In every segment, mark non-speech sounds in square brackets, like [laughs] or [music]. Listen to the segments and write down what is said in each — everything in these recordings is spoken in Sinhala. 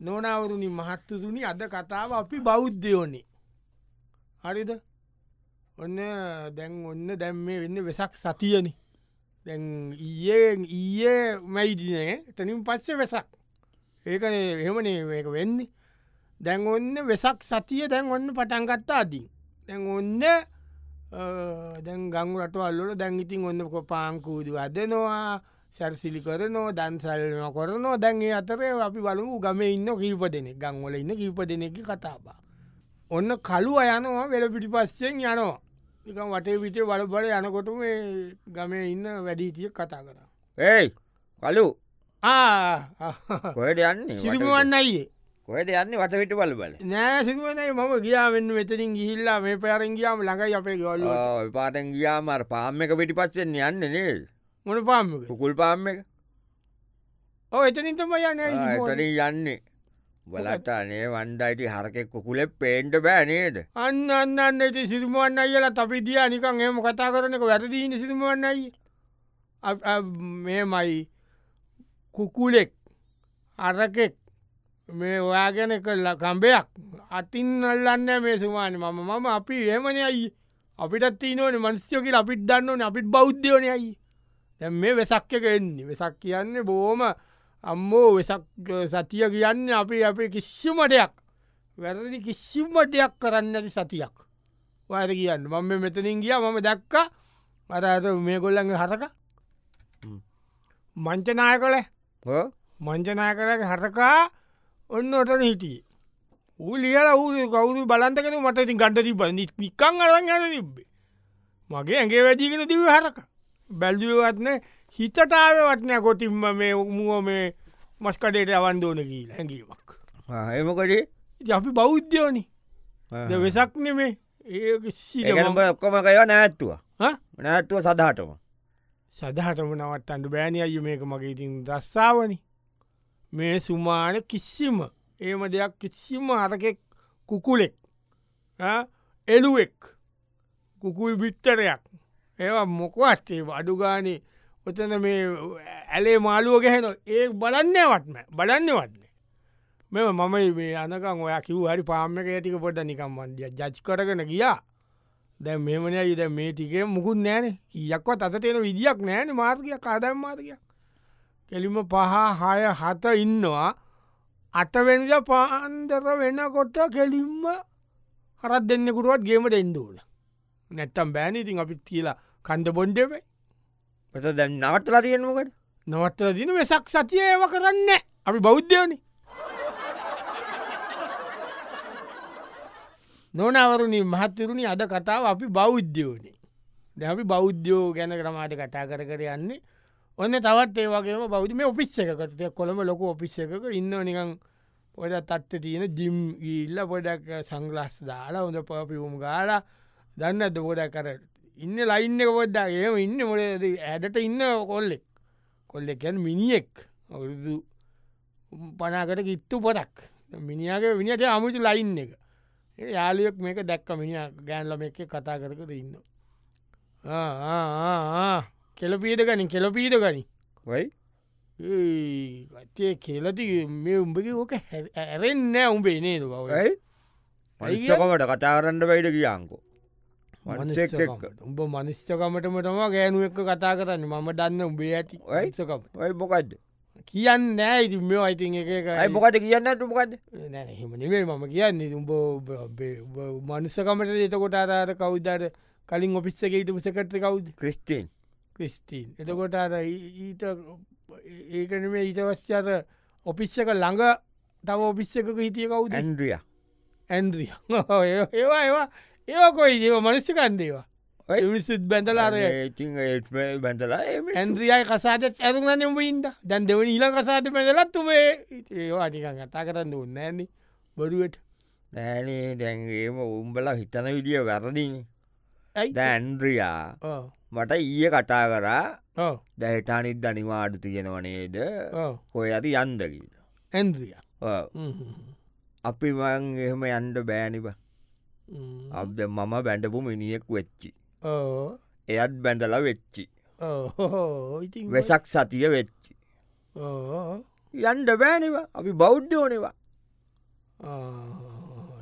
නොනවරුණි මහත්තතුනි අද කතාව අපි බෞද්ධයෝනේ හරිද ඔන්න දැන් ඔන්න දැම් මේ වෙන්න වෙසක් සතියනි දැන් ඊයේ ඊයේ මැයිදිනය තනින් පස්සේ වෙසක් ඒක එහෙමනේ ඒක වෙන්නේ දැන් ඔන්න වෙසක් සතිය දැන් ඔන්න පටන්ගත්තාදී දැන් ඔන්න දැන් ගංගු රටවල්ලට දැන් ඉතින් ඔන්න කො පාංකූදු අදනවා සැරසිලි කරනෝ දන්සල්න කරනෝ දැන්ගේ අතරේ අපි බලමු ගම ඉන්න කීප දෙනෙ ගංවල ඉන්න කීප දෙනෙකි කතාබා ඔන්න කලු අයනවා වෙල පිටි පස්සෙන් යනවා එක වටේ විටේ වලබල යනකොට මේ ගමේ ඉන්න වැඩීතිය කතා කරා ඒයි කලු ආ කොයට යන්න සිරිමුවන්න අයියේ කොයට යන්න වට විට බල බල නෑ සිදුවනයි මම ගියාවෙන්න මෙතනින් ගිහිල්ලා මේ පැරෙන් ගියාම ළඟයි අපේ ගොල්ල පාතැන් ගියාමර පාම්ම එක පිටි පස්සෙන් යන්න නේ මොන පාම්මක පුකුල් පාම්ම එක ඕ එතනින්තම යන එතරින් යන්නේ බලටනේ වන්ඩයිටි හරකෙක් කුකුලෙ පේන්ට බෑනේද අන්න අන්න අන්න ඇති සිදුමුවන් අයලා අපි දිය නිකන් එම කතා කරනක වැරදිීන සිදුමුවන්නයි මේමයි කුකුලෙක් අරකෙක් මේ ඔයා ගැන කරලා කම්බයක් අතින්නල්ලන්න මේ සුමාන මම මම අපි ඒමන අයි අපිටත් තිීනවන මනස්යෝකල අපිත් දන්නවන අපිත් බෞද්ධයන අයි දැ මේ වෙසක් එක එන්නේ වෙසක් කියන්නේ බෝම අම්මෝ වෙසක් සතිය කියන්න අපි අපේ කිසිම දෙයක් වැරදි කිසිම දෙයක් කරන්න ඇති සතියක් වැර කියන්න මම මේ මෙතනින් ගිය මම දැක්ක අර අර මේ කොල්ලගේ හරක හ්ම්. මංචනාය කළ හෝ? මංචනා කරක හරකා ඔන්න ඔටන හිටිය ඌ ලියල ඌ කවුරු බලන්තකෙන මට ඉතින් ගන්ට තිබ නිකං අරන් යන තිබ්බේ මගේ ඇගේ වැදිගෙන තිව හරක බැල්දුවත්න හිතටාවවත්නය කොතින්ම මේ උමුව මේ මස්කටේට අවන්දෝන කියී හැඟීමක් ආ, එමකොඩේ ඉතින් අපි බෞද්ධයෝනි ද වෙසක් නෙමේ ඒ කිසි ඒකන උඹ ඔක්කොම කයෝ නැත්තුව හ? නැත්තුව සදහටම සදහටම නවත් අන්ඩු බෑණි අය මේක මගේ ඉතින් දස්සාාවනි මේ සුමාන කිසිම ඒම දෙයක් කිසිම අරකෙක් කුකුලෙක් ආ, එළුවෙක් කුකුල් බිත්තරයක් ඒවා මොකවත් ඒ අඩුගානේ ඔතන මේ ඇලේ මාළුව ගැහෙන ඒ බලන්න වත්ම බලන්න වන්නේ මෙම මම මේ අනකං ඔයා කිව් හරි පාම්මක ඇතික පොට නිකම් වන්ඩිය ජච් කරගෙන ගියා දැ මෙමනයි ද මේ ටිකේ මුකුත් නෑන කියක්වත් අත තියෙන විදිියක් නෑන මාර්කය කාදම් මාර්කයක් කෙලිම පහ හය හත ඉන්නවා අටවෙන්ද පාන්දර වෙනකොට කෙලින්ම හරත් දෙන්නෙකුරුවත් ගේමට එන්දූන නැත්තම් බෑන ඉතින් අපිත් කියලා කන්ද බොන්්ඩවෙයි පත දැන් නවටලා තියෙන්මකට නොවත්තල දින වෙසක් සතිය ඒව කරන්න අපි බෞද්ධයනි නොනවරුණින් මහත්තරුණි අද කතාව අපි බෞද්ධයෝනි දැන් අපි බෞද්ධයෝ ගැන ක්‍රමාට කතා කර කර යන්නේ ඔන්න තවත් ඒ වගේම බෞද්ධ මේ ඔපිස්ස එකකටය කොළම ලොක ඔපිස්ස එකක ඉන්න නිකං පොඩ තත්ත තියෙන ජිම් ඉල්ල පොඩක් සංගලස් දාලා හොඳ පපිවුම් ගාලා දන්න ඇත පොඩක් කර ඉන්න ලයින්න පොඩ්ඩා ඒම ඉන්න මොල ඇඩට ඉන්න කොල්ලෙක් කොල්ලෙකැන් මිනිියෙක් අවුරුදු පනාකට කිත්තු පොතක් මිනිියගේ විනිට අමුතු ලයින් එක ඒ යාලියෙක් මේක දැක්ක මිනි ගෑන්ලම එක කතා කරකද ඉන්න කෙලපීට ගනි කෙලපීට ගනි වයි ගත්තේ කෙලති මේ උඹගේ ඕක හැර- ඇරෙන්න උඹේ නේද බව ඇයි මනිස්සකොමට කතා කරන්න බයිට කියාංකෝ මනිස්සෙක් එක්ක. උඹ මනිස්්‍යකමටම තම ගෑනුව එක්ක කතා කරන්න මම දන්න උඹේ ඇති ඇයි? යිසකම ඔයි මොකක්ද කියන්න ඉති මේ අයිතින් එක එක ඇයි මොකද කියන්න තුමකක්ද නෑ හෙමනිවේ මම කියන්නේ උඹ ඔබ- ඔබේ- ඔබ මනුස්සකමට එතකොට අරාර කෞද්දට කලින් ඔපිස්ස එක ඉට පුසකට කවුද ක්‍රිස්ටීන් ක්‍රිස්ටීන් එතකොට අර ඊ- ඊට ඒකන මේ ඊතවස්්‍යර ඔපිස්සක ළඟ තම ඔපිස්සක හිටිය කවුද ඇන්ද්‍රිය ඇන්ද්‍රිය [laughs] ඒවා ඒවා ඒවකොයි ඒව මනස්්‍යකන්දේවා ඔයි. විසිත් බැඳලාර ඉති බැඳලා ඇන්ද්‍රියයි කසාට ඇරුන උඹ ඉන්න දැන් දෙවන ඊල කසාට පැදලත්තුමේ ඒවා නිකන් කතා කරන්න ඕන්න ඇන්නේ බොරුවට නෑනේ දැන්ගේම උම්බල හිතන විඩිය වැරදින ඇයි දැන්ද්‍රියා ඕ මට ඊය කටා කරා ඕ දැහිතානිත් දනිවාඩු තියෙනවනේද ඕ කොය ඇති යන්දකිල ඇන්ද්‍රිය අපි මං එහෙම යන්ඩ බෑනිබ අබ්ද මම බැඩපු මිනිියෙක් වෙච්චි ඕ එයත් බැඳල වෙච්චි Oh. ඕ ඉති වෙසක් සතිය වෙච්චි ඕ යන්ඩ බෑනිවා අපි බෞද්ධෝනවා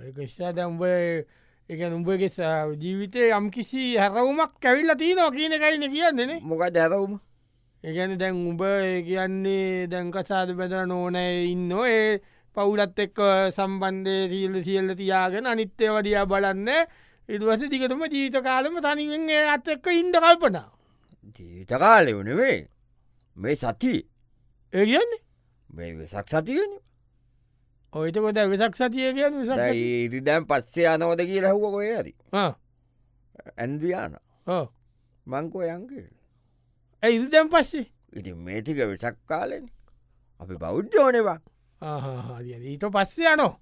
එක නිසා දැම්බ එක නුඹගේ ස- ජීවිතේ යම් කිසි හැරවුමක් කැවිල්ල තියනවා කියන කයින කියන්නේනේ මොක දැරවුම එකන දැන් උඹ ඒ කියන්නේ දැන්කසාද බැදර නෝනෑ ඉන්න ඒ පවුලත් එක්ක සම්බන්ධය සියල්ල සියල්ල තියාගෙන අනිත්‍ය වඩියා බලන්න ඉඩුවස දිගතුම ජීවිත කාලම තනිවෙන් ඒ අත් එක්ක ඉන්ඩ කල්පනා ජීතකාලය වනවේ මේ සති ඒ කියන්නේ මේ වෙසක් සතිගෙන ඔයිත කොට වෙසක් සතිය කියන විසක් ඉරිදැම් පස්සේ අනවද කිය ලහුව කොය ඇරි 어, ඇන්දියාන මංකෝ යංගේ ඇයි දැම් පස්සේ ඉති මේතික වෙසක් කාලෙන් අපි බෞද්ධෝනවා ආහා, හරි, හරි. ඊට පස්සේ යනෝ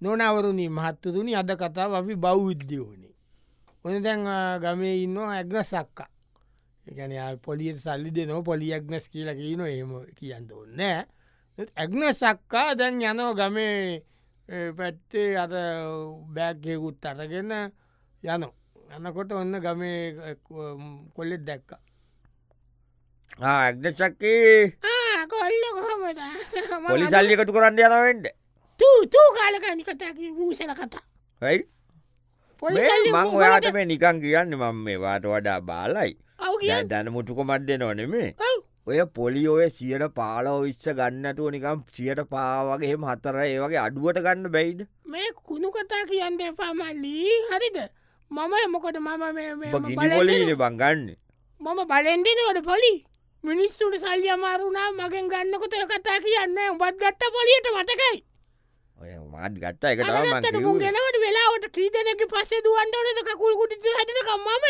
නොනවරුණී මහත්තතුනි අද කතාව අපි බෞද්ධයෝනේ ඔන දැන් ආ, ගමේ ඉන්න ඇග්න සක්කා එකන පොලියට සල්ලි දෙනෝ පොලියක්නස් කියලා කියන ඒම කියන්න ඕන්න ඇග්න සක්කා දැන් යනෝ ගමේ ඒ, පැත්තේ අද බෑග්ගෙකුත් අරගෙන යනෝ යනකොට ඔන්න ගමේ කොල්ලෙත් දැක්ක ඇක්දශක්කේ කොල්ල කොහමද පොලි සල්ලිකතු කරන්න යනවෙන්ට තූ කාලකනි කතා වූසල කතා යි මං ඔයාට මේ නිකන් කියන්න මම මේ වාට වඩා බාලයි ඔව් දැන් දැන මුටුකමත් දෙ නොනෙමේ ඔය පොලිෝය සියට පාලෝ විශ්ෂ ගන්නතුව නිකම් සියට පාවගේම හතර ඒ වගේ අඩුවට ගන්න බැයිද මේ කුණු කතා කියන්න එපා මල්ලී හරිද මම එමකොට මම මේ- මේ- ඔබ මම ගිනි බලෙන්දෙන- පොලීද බංගන්න මම බලෙන්දිනවට පොලි මිනිස්සුට සල්ලි අමාරුණා මගෙන් ගන්නකොට ඔය කතා කියන්න උබත් ගත්ත පොලියට මතකයි ඔය මාත් ගත්තා එකටම අරගත්තට මුන් ගෙනවට වෙලාවට කීදනක පස්සේ දුවන්ටනද කකුල් කුටි හටනකම් මම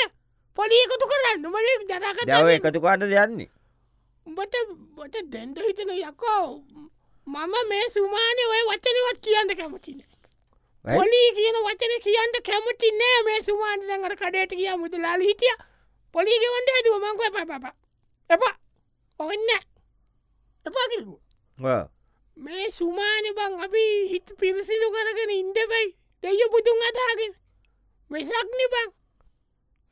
පොලි එකතු කරන්න මට දැව දරකත එකතු කාන්න දෙයන්නේ උඹට බොට දැන්ඩ හිතන යකෝ මම මේ සුමානය ඔය වචනවත් කියන්න කැමතින ඇයි? පොලී කියන වචන කියන්න කැමති නෑ මේ සුමාන දැඟට කඩේට කිය මුද ලාල හිටිය පොලිගවන්ඩ ඇදුව මංක පපප එපා ඔන්න එපා කිරකු මේ සුමාන බං අපි හිත පිරිසිදු කරගෙන ඉන්ඩබයි දෙය බුදුන් අදාගෙන වෙසක්න බං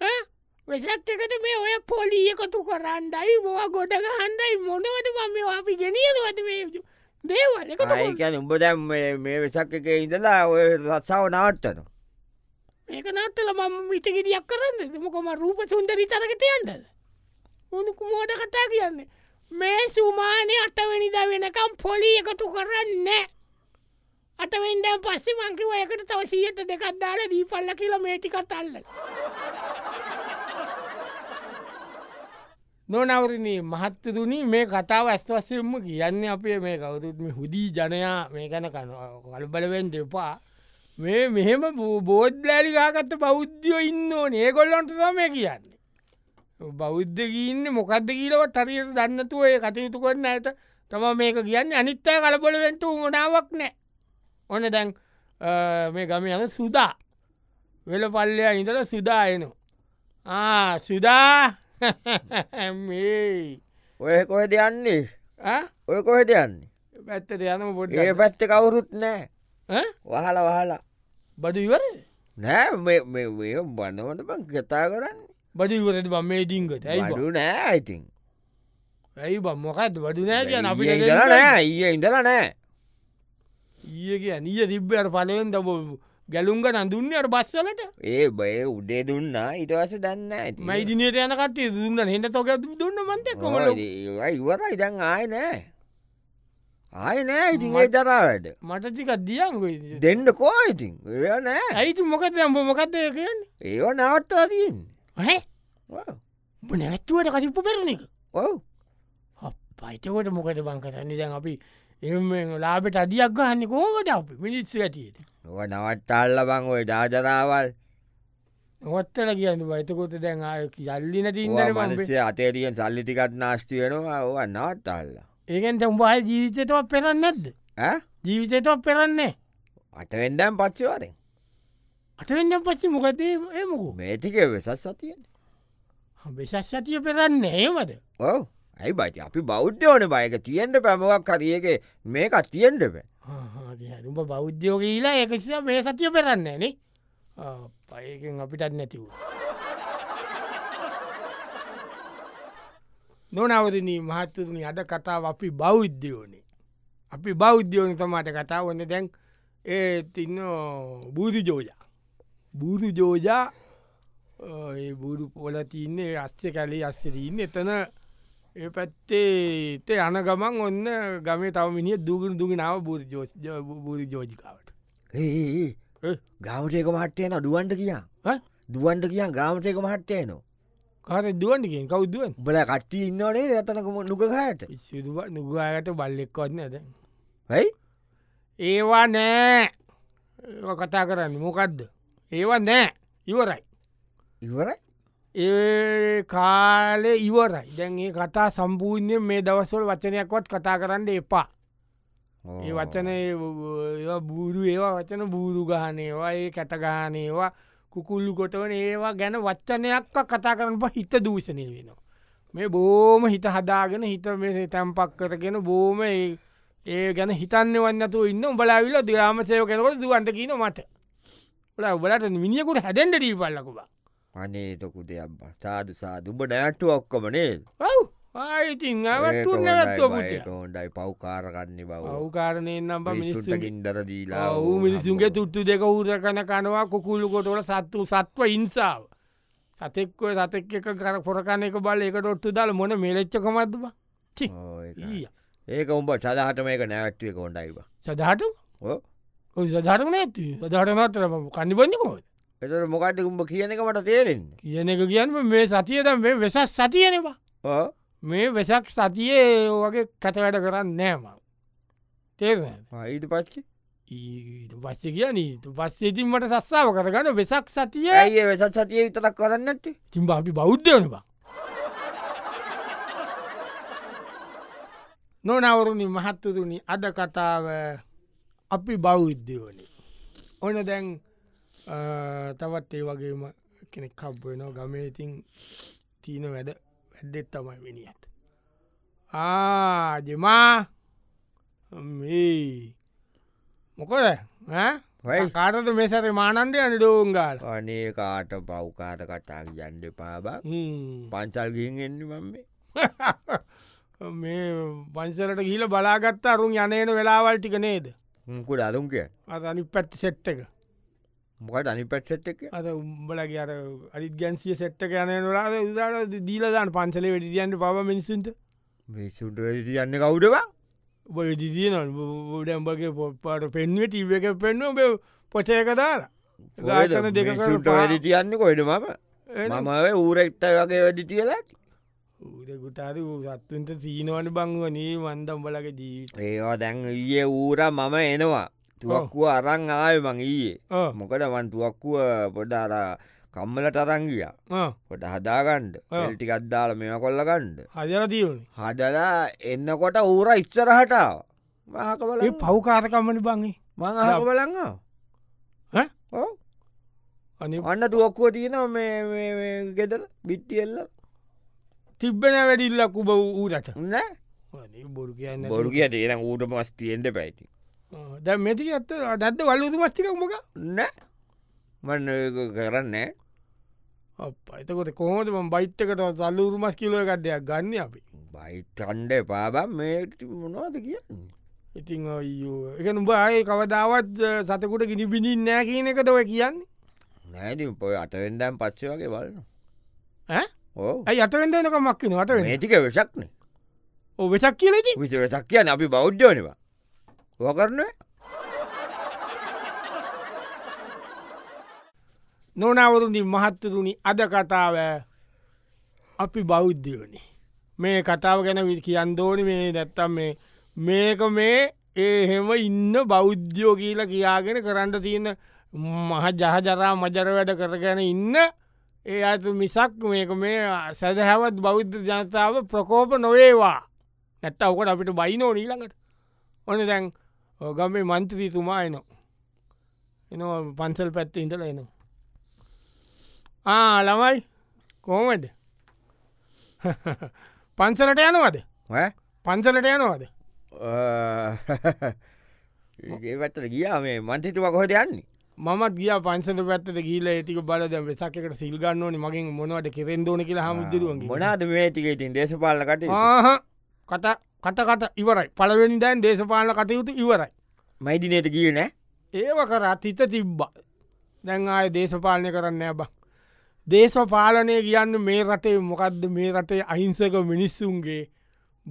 ඈ? වෙසක් එකට මේ ඔය පොලිය එකතු කරන්නයි බවා ගොඩග හන්ඩයි මොනවට මම මේවා අපි ගෙනියනවද මේ දේවල් එකතු කර- ඒකැන උඹ දැම් මේ වෙසක් එක ඉඳලා ඔය රත්සාාව නාට්ටන මේක නත්තල මම විටගෙඩියක් කරන්න මොකොම රූප සුන්දරී තරකට යන්ද උුණුකු මෝඩ කතා කියන්නේ මේ සුමානය අටවැනිද වෙනකම් පොලි එකතු කරන්න අටවෙන්ඩ පස්සේ මංකිව එකට තව සීයට දෙකත් දාලා දීපල්ල කියලා මේටිකත් අල්ල නොනවරණී මහත්තතුනි මේ කතාව ඇස්වස්සයම කියන්න අපේ මේ කවුරුත්ම හුදී ජනයා මේ ගැන කන කල්බලවෙන් දෙපා මේ මෙහෙම බෝද්ධලි ගාගත්ත බෞද්ධයෝ ඉන්න ඕනේ ඒගොල්ලන්ට තම කියන්නේ බෞද්ධගීන්න මොකක්ද කියීලවත් හරියට දන්නතුව ඒ කටයුතු කරන්න ඇත තම මේක කියන්න අනිත්තය කලබොල වෙන්ට උමනාවක් නෑ ඕන දැන් අ, මේ ගම යන සුදා වෙල පල්ලයා ඉඳල සුදා එනවා Ah, සුදා මේ ඔය කොහෙ දෙයන්නේ ආ? ඔය කොහෙ දෙයන්නේ පැත්තට යනම පොඩ ඒ පැත්ත කවුරුත් නෑ වහල වහලා බඩු ඉවරද? නෑ මේ බඳවට පං කතා කරන්න බඩු ඉවරද බම් මේ ඩිංගට ඇයි බං? අඩු නෑ ඉතින් ඇයි බ මොකත් වඩු නෑ කියන අපි ඊයේ ඉඳලා නෑ ඊය ඉඳලා නෑ ඒගේ නිය තිබ්බට පලයෙන් ද ගැලුන්ග නඳුන්නට බස්සලට ඒ බය උඩේ දුන්නා ඉටවස දන්න ඇති මයිදිනයට යනකත්තේ දුන්න හෙට තොක දුන්න මන්ත කොමල ඉවර ඉදන් ආය නෑ ආය නෑ ඉතින් ඒ දරාට මටතිකක් දියන් දෙන්න කෝ ඉතින් ඒ නෑ ඇයිතු මොකද ම්බ මොකක්ද කියන්න ඒව නවත්තා තියෙන් හැ නැත්තුවට කසිප්පු පෙරණ එක ඔව පයිතකොට මොකද බං කරන්නේ දැන් අපි එම ලාබට අඩියක් ගහන්න කෝමද අප මිනිස්ස ඇතියට ඔව නවත්තාල්ල බං ඔය ජාජරාවල් නොවත්තල කියන්න බයිතකොට දැන් ආය යල්ලි නැති ඉදර මනසේ අතේතියෙන් සල්ලිතිකත් නාස්ති වෙනවා ඔව නවත්තාල්ලා ඒකන්ට උඹහ ජීවිතයටව පෙරන්න නැද්ද ජීවිතයටව පෙරන්නේ අටවෙන්දම් පච්චිවරෙන් අටෙන් පච්චි මොකදේ ඒමකු මේතික වෙසස් සතියෙන් විශස් ඇතිය පෙරන්න ඒමද ඔව ඇයි බයිති අපි බෞද්ධෝන බයක තියෙන්ට පැමවක් හරියගේ මේකක් තියෙන්ට පැ උඹ බෞද්ධයෝ කියලා ඒකසි මේ සතිය පෙරන්න න පයකෙන් අපිටත් නැතිව නොනවරණී මහත්තුරුණි අද කතාව අපි බෞද්ධයෝනේ. අපි බෞද්ධයෝන තමාට කතාවන්න දැන් ඒ තින්න බුදුජෝජා. බුදුජෝජා බුරු පොල තින්නේ අස්්‍ය කැලේ අස්සරන්න එතන ඒ පැත්තේ තේ යන ගමන් ඔන්න ගමේ තව මිනිිය දුගුණ දුගෙනාව බුරු ජෝජිකාවට. ඒ ඒ? ගාමටයක මහට්ටයන දුවන්ට කියා ඈ? දුවන්ට කියන් ගාමටයක මහට්ටයන කාර දුවන්ටකින් කවද්දුවන් බල කට්ටි ඉන්නවනේ ඇතනකම නුකහයට සිදුව නුගායට බල්ලෙක්කොන්න ඇද. ඇයි ඒවා නෑ ඒවා කතා කරන්න මොකක්ද. ඒවා නෑ ඉවරයි. ඉවරයි ඒ කාලෙ ඉවරයි දැන් ඒ කතා සම්පූර්ණය මේ දවස්වල් වචනයක්වත් කතා කරන්න එපා. ඒ වචන බූරු ඒවා වචන බූරු ගහනේවා ඒ කැටගානේවා කුකුල්ලු කොටවන ඒවා ගැන වච්චනයක් කතා කරන බ හිත දූෂණය වෙනවා. මේ බෝම හිත හදාගෙන හිත මෙසේ තැම්පක් කරගෙන බෝම ඒ- ඒ ගැන හිතන්න වන්නතු ඉන්න උඹලාවිල දිරාමසයෝ කෙනකොට දුවන්ට කියන මට ඔලා ඔබලට මිනිියකුට හැදැන්ට ඩී පල්ලකුවා අනේ තොකු දෙයක්බ සාදු සාදුඹ නෑට්ටු ඔක්කමනේ ඔව් ආයිතින් අවත් නැත්වපුට හොන්ඩයි පව්කාරගන්නේ බව අවකාරණය නම් මිනිස්සු මිනිස්සුටකින්දර දීලා ඔවු මිනිසුන්ගේ තුට්ටු දෙක හූර කන කනවා කුකුල්ලු කොටවල සත්තු සත්ව ඉන්සාාව සතෙක්ව සතෙක් එක කර පොරකන එක බල එක ොත්තු දල් මොන මෙලච්චකමත්තුබ ඊය ඒක උඹ සදහට මේක නැවැත්වේ කොන්ඩයිව සදහට සධාරන ඇති සධාරනතර කණිබන්ධකෝ එතර මොකට උඹ කියන එක මට තේරෙන්න කියන එක කියන්න මේ සතියද මේ වෙසක් සතියනවා ඕ? මේ වෙසක් සතියේ වගේ කතවැට කරන්න නෑම තේරණ ආ, ඊට පස්සේ ඊට පස්ස කියන පස්සේතින් මට සස්සාාව කරගන්න වෙසක් සතිය ඇයි ඒ වෙසත් සතිය විතරක් කරන්නට තිම්බ අපි බෞද්ධයනවා නොනවරුණි මහත්තතුනි අද කතාව අපි බෞද්ධයෝනි ඕන දැන් අ, තවත් ඒ වගේම කෙනෙක් කබ්බනෝ ගමේතින් තිීන වැඩ වැඩ්ඩෙත් තමයි මිනිියත් ආජමා මේ මොකොද ඈ? වයි. කාටද මෙසර මානන්දය අනිඩෝංගාල අනේ කාට පව්කාත කටා යන්ඩ පාබා පංචල් ගිහින් එන්න මම [laughs] මේ පංසලට ගීල බලාගත්ත අරුන් යනයන වෙලාවල් ටික නේද මුකුට අරුම් කිය අත අනි පැත්ති සෙට් එක මොකට අනි පැත්සට් එක අද උම්බලගේ අර අඩිත් ගැන්සිය සෙට්ට යන නොලාද උදාට දීලදාන පන්සලේ වැඩිදියන්ට පව මිනිසුන්ට මිසුට යන්න කවුඩවා බොය දිදියන ඩම්බගේ පොප්පාට පෙන්ුවේ ටීව එක පෙන්නුව බ පොචයක දාලා ගාතන දෙක කර පා- වැඩි තියන්න කොයිට මම එන මම ඔය ඌරෙක්ට වගේ වැඩි තියලත් උදකුටාර සත්තුන්ට සීනවන බංගුවනේ වන්දම් බලගේ ජීවිත ඒවා දැන් ඊයේ ඌර මම එනවා තුවක්කුව අරං ආය මං ඊයේ ඕ මොකද වන් තුවක්කුව පොඩාර කම්මල ටරංගිය ඕ පොට හදාගණ්ඩ ඔව්. ටිකත්දාල මෙම කොල්ලගණ්ඩ හදර දියුණේ හදලා එන්නකොට ඌර ඉස්සරහටාව මහකබල ඒ පව්කාරකම්මන බංගේ මං හකබලංවා ඈ? ඕ අනි අන්න තුවක්කුව තියෙනවා මේ- මේ මේ ගෙදර බිට්ටියෙල්ල තිබ්බෙන වැඩිල්ලක් උබ ඌරට නෑ බොරු කියන්න බොරු කිය දේන ඌට මස් තියෙන්ට පැයිති දැ මෙති ඇත්ත දැත්ත වල්ලුතු මස්තික මොක නෑ මන්න කරන්න එතකොට කොහොට ම බයිත්තකට සල්ල උරුමස් කිලෝ එකක් දෙයක් ගන්න අපි බයිතන්ඩ පාබම් මේ මොනවාද කියන්න ඉතිං අයියෝ. එක උඹඒ කවදාවත් සතකුට ගිනි බිඳින් නෑ කියන එක දව කියන්නේ නෑති පොය අටවෙන්දම් පස්සේ වගේ බලන්න ඈ? ඕ ඇයි අතවෙදනක මක්කින අත මේටික වෙසක්නේ වෙසක් කියලති විස වෙසක් කියන්න අපි බෞද්ධ්‍යෝනවා ඕකරන නොනවරුදි මහත්තතුනි අද කතාව අපි බෞද්ධයනි මේ කතාව ගැන වි කියන් දෝනි මේ නැත්තම් මේ මේක මේ ඒහෙම ඉන්න බෞද්ධයෝ කියීල කියාගෙන කරන්න තියෙන මහ ජහජරා මජර වැඩ කරගෙන ඉන්න ඒ අතු මිසක් මේක මේ සැදහැවත් බෞද්ධ ජනතාව ප්‍රකෝප නොවේවා නැත්ත ඔකට අපිට බයිනෝ නීළඟට ඕන දැන් ගමේ මන්ත්‍රීතුමා එනෝ එනවා පන්සල් පැත්ත ඉඳල එනවා ආ ළමයි කෝමද [laughs] පන්සලට යනවද පන්සලට යනවද ඒවැත්තට ගියා මේ මන්තිතුම කොහොද යන්නේ මමත් ගිය පන්සට පැත්තට ගීල ඒටික බල දැ වෙසක්කට සිල්ගන්නඕන මගින් මොනවට කෙරෙන්දෝන කියලා හමුදුරුවන්ගේ මොනාද මේ ටික ඉතින් දේශපාලන කට ආහ කත කට කට ඉවරයි පලවෙනි දැන් දේශපාල කටයුතු ඉවරයි මයිදිනයට ගිය නෑ [laughs] ඒව කරත් හිත තිබ්බ දැන් ආය දේශපාලනය කරන්න බ දේශපාලනය කියන්න මේ රටේ මොකක්ද මේ රටේ අහිංසක මිනිස්සුන්ගේ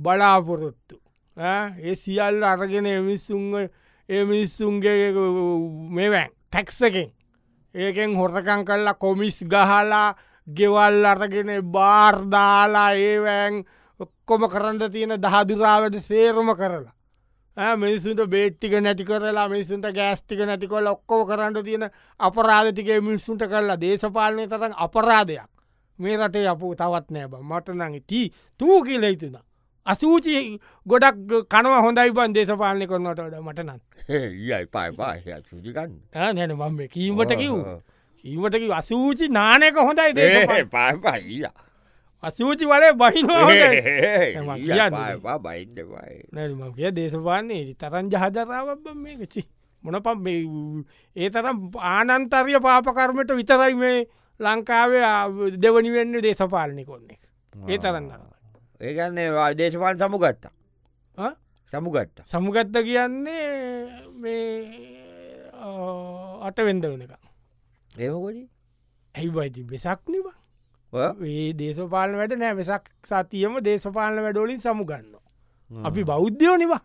බලාපොරොත්තු ඈ? ඒ සියල්ල අරගෙන මිනිස්සුන් ඒ මිනිස්සුන්ගේ මෙවැන් තැක්සකෙන් ඒකෙන් හොරකං කල්ලා කොමිස් ගහලා ගෙවල් අරගෙන බාර්දාලා ඒවැන් ඔක්කොම කරන්න තියෙන දහදුරාවට සේරම කරලා ඈ මිනිසුන්ට බේට්ටික නැති කරලා මිනිසුන්ට ගෑස්ටික නැතිකොල් ඔක්කෝ කරන්න තියෙන අපරාධතිකේ මිනිස්සුන්ට කරලා දේශපාලනය තරන් අපරාධයක් මේ රටේ අපපු තවත් නෑ බ මටනඟ ටී තූ කියලෙහිතුන අසූචි ගොඩක් කනව හොඳයි බන් දේශපාලනය කරනට වඩ මටනන් ඒයි පයිපා සුජිකන්න නැන මම මේ කීමට කිව් ඔව්. කීමටකි අසූචි නානයක හොඳයි [laughs] දේ පාපයිය අසූචි වලේ [laughs] බහිනවා හොඳයි. මං කියන්නේ. බයින්ඩවයි නැම කිය දේශපාන්නේ තරන් ජහජරාවක් මේකචි මොන පම් ඒ තරම් ආනන්තර්ය පාපකර්මට විතරයි මේ ලංකාවේ ආ- දෙවනි වෙන්න දේශපාලනය කොන්නේ ඒ තරන්න ඒගන්නේ දේශපාල සමුගත්තා සමුගත්ත සමුගත්ත කියන්නේ මේ අටවෙන්ද වෙනක ඒමකොඩි ඇයිබයිති වෙසක්නිව ඒ දේශපාලන වැඩ නෑ වෙසක් සතියම දේශපාලන වැඩෝලින් සමුගන්න අපි බෞද්ධයෝ නිවා